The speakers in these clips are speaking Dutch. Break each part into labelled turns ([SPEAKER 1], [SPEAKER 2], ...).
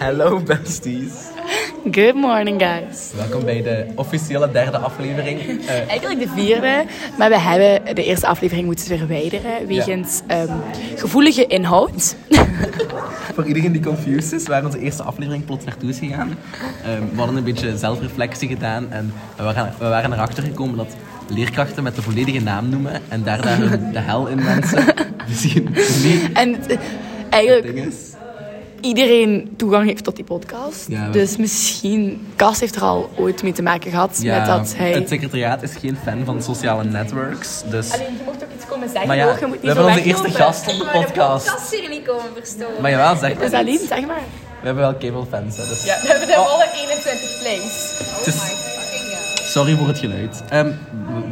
[SPEAKER 1] Hello besties.
[SPEAKER 2] Good morning, guys.
[SPEAKER 1] Welkom bij de officiële derde aflevering. Eh,
[SPEAKER 2] Eigenlijk de vierde, maar we hebben de eerste aflevering moeten verwijderen wegens ehm, gevoelige inhoud.
[SPEAKER 1] voor iedereen die confused is, waar onze eerste aflevering plots naartoe is gegaan. eh, we hadden een beetje zelfreflectie gedaan en we waren, we waren erachter gekomen dat leerkrachten met de volledige naam noemen en daar daar hun de hel in mensen. Misschien niet.
[SPEAKER 2] en het, eh,
[SPEAKER 1] Het
[SPEAKER 2] eigenlijk
[SPEAKER 1] ding is,
[SPEAKER 2] iedereen toegang heeft tot die podcast.
[SPEAKER 1] Ja.
[SPEAKER 2] Dus misschien, Cas heeft er al ooit mee te maken gehad met
[SPEAKER 1] ja,
[SPEAKER 2] dat hij...
[SPEAKER 1] het secretariaat is geen fan van sociale networks, dus...
[SPEAKER 2] Alleen, je mocht ook iets komen zeggen,
[SPEAKER 1] Maar ja,
[SPEAKER 2] hoor. je moet niet
[SPEAKER 1] we
[SPEAKER 2] zo
[SPEAKER 1] hebben onze
[SPEAKER 2] weglopen.
[SPEAKER 1] eerste gast op de podcast.
[SPEAKER 3] podcast hier niet komen verstoren.
[SPEAKER 1] Maar jawel, zeg
[SPEAKER 2] Dus
[SPEAKER 1] maar
[SPEAKER 2] alleen,
[SPEAKER 1] iets.
[SPEAKER 2] zeg maar.
[SPEAKER 1] We hebben wel cable fans, hè, dus...
[SPEAKER 2] we hebben daar alle 21 plays.
[SPEAKER 1] Het is- Sorry voor het geluid. Ehm,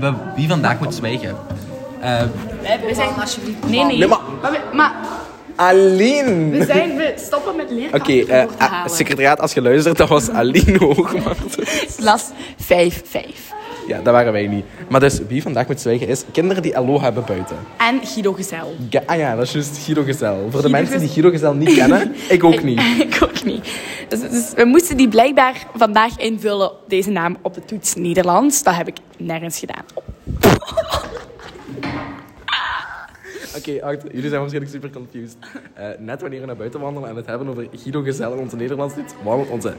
[SPEAKER 1] w- w- wie vandaag moet zwijgen? Eh,
[SPEAKER 2] We zijn...
[SPEAKER 3] alsjeblieft.
[SPEAKER 2] Nee, nee.
[SPEAKER 4] Nee, maar-
[SPEAKER 2] Maar we- maar
[SPEAKER 4] Aline!
[SPEAKER 2] we zijn... We stoppen met leerkrachten
[SPEAKER 4] Oké, eh,
[SPEAKER 2] voor te
[SPEAKER 4] ah,
[SPEAKER 2] halen.
[SPEAKER 4] secretariaat, als je luistert, dat was Aline Hoogmaat.
[SPEAKER 2] Klas 5-5.
[SPEAKER 4] Ja, dat waren wij niet. Maar dus, wie vandaag moet zwijgen is kinderen die Aloha hebben buiten.
[SPEAKER 2] En Guido Gezel.
[SPEAKER 4] Ge- ah ja, dat is juist Guido Gezel. Voor de
[SPEAKER 2] Guido
[SPEAKER 4] mensen die
[SPEAKER 2] Gezel.
[SPEAKER 4] Guido Gezel niet kennen, ik ook niet.
[SPEAKER 2] ik ook niet. Dus, dus we moesten die blijkbaar vandaag invullen, deze naam, op de toets Nederlands. Dat heb ik nergens gedaan.
[SPEAKER 4] Oké, wacht, jullie zijn waarschijnlijk super confused. Eh, net wanneer we naar buiten wandelen en het hebben over Guido Gezel, onze Nederlands dit wandelt onze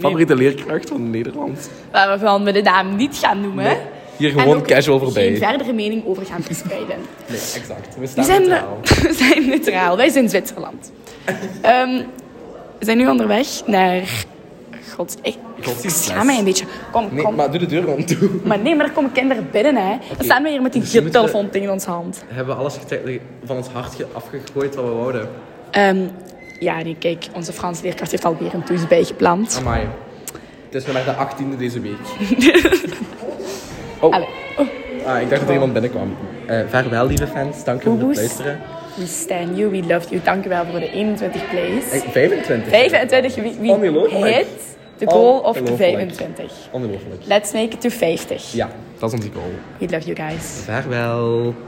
[SPEAKER 4] favoriete leerkracht van Nederland.
[SPEAKER 2] Waarvan we de naam niet gaan noemen.
[SPEAKER 4] Nee, hier
[SPEAKER 2] En
[SPEAKER 4] gewoon
[SPEAKER 2] ook
[SPEAKER 4] casual voorbij.
[SPEAKER 2] Geen verdere mening over gaan verspreiden.
[SPEAKER 4] Nee, exact. We
[SPEAKER 2] We
[SPEAKER 4] staan
[SPEAKER 2] zijn,
[SPEAKER 4] neutraal.
[SPEAKER 2] we zijn neutraal. Wij zijn Zwitserland. Ehm, we zijn nu onderweg naar... God, ik, ik
[SPEAKER 4] Godsdienstles.
[SPEAKER 2] schaam mij een beetje. Kom,
[SPEAKER 4] Nee,
[SPEAKER 2] kom.
[SPEAKER 4] maar doe de deur rond toe.
[SPEAKER 2] Maar nee, maar er komen kinderen binnen, hè. Dan staan we hier met
[SPEAKER 4] misschien
[SPEAKER 2] die
[SPEAKER 4] moeten Dus we-
[SPEAKER 2] telefoon tegen ons hand.
[SPEAKER 4] Hebben we alles gete- van ons hart ge- afgegooid wat we wouden?
[SPEAKER 2] Ehm, ja, nee, kijk, onze Frans leerkracht heeft alweer een toets bijgepland.
[SPEAKER 4] Amai. Het is nog maar de 18e deze week. oh,
[SPEAKER 2] Allee, oh,
[SPEAKER 4] ah, ik dacht dat er iemand binnenkwam. Eh vaarwel, lieve fans. Dank u voor het
[SPEAKER 2] Woehoes.
[SPEAKER 4] luisteren.
[SPEAKER 2] we stand you, we love you. Dankjewel voor de 21 plays.
[SPEAKER 4] Eh, 25.
[SPEAKER 2] 25, wie, wie
[SPEAKER 4] Ongelooflijk.
[SPEAKER 2] hit the goal of the
[SPEAKER 4] Ongelooflijk.
[SPEAKER 2] 25.
[SPEAKER 4] Ongelooflijk.
[SPEAKER 2] Let's make it to 50.
[SPEAKER 4] Ja, dat is onze goal.
[SPEAKER 2] We love you guys.
[SPEAKER 4] Vaarwel.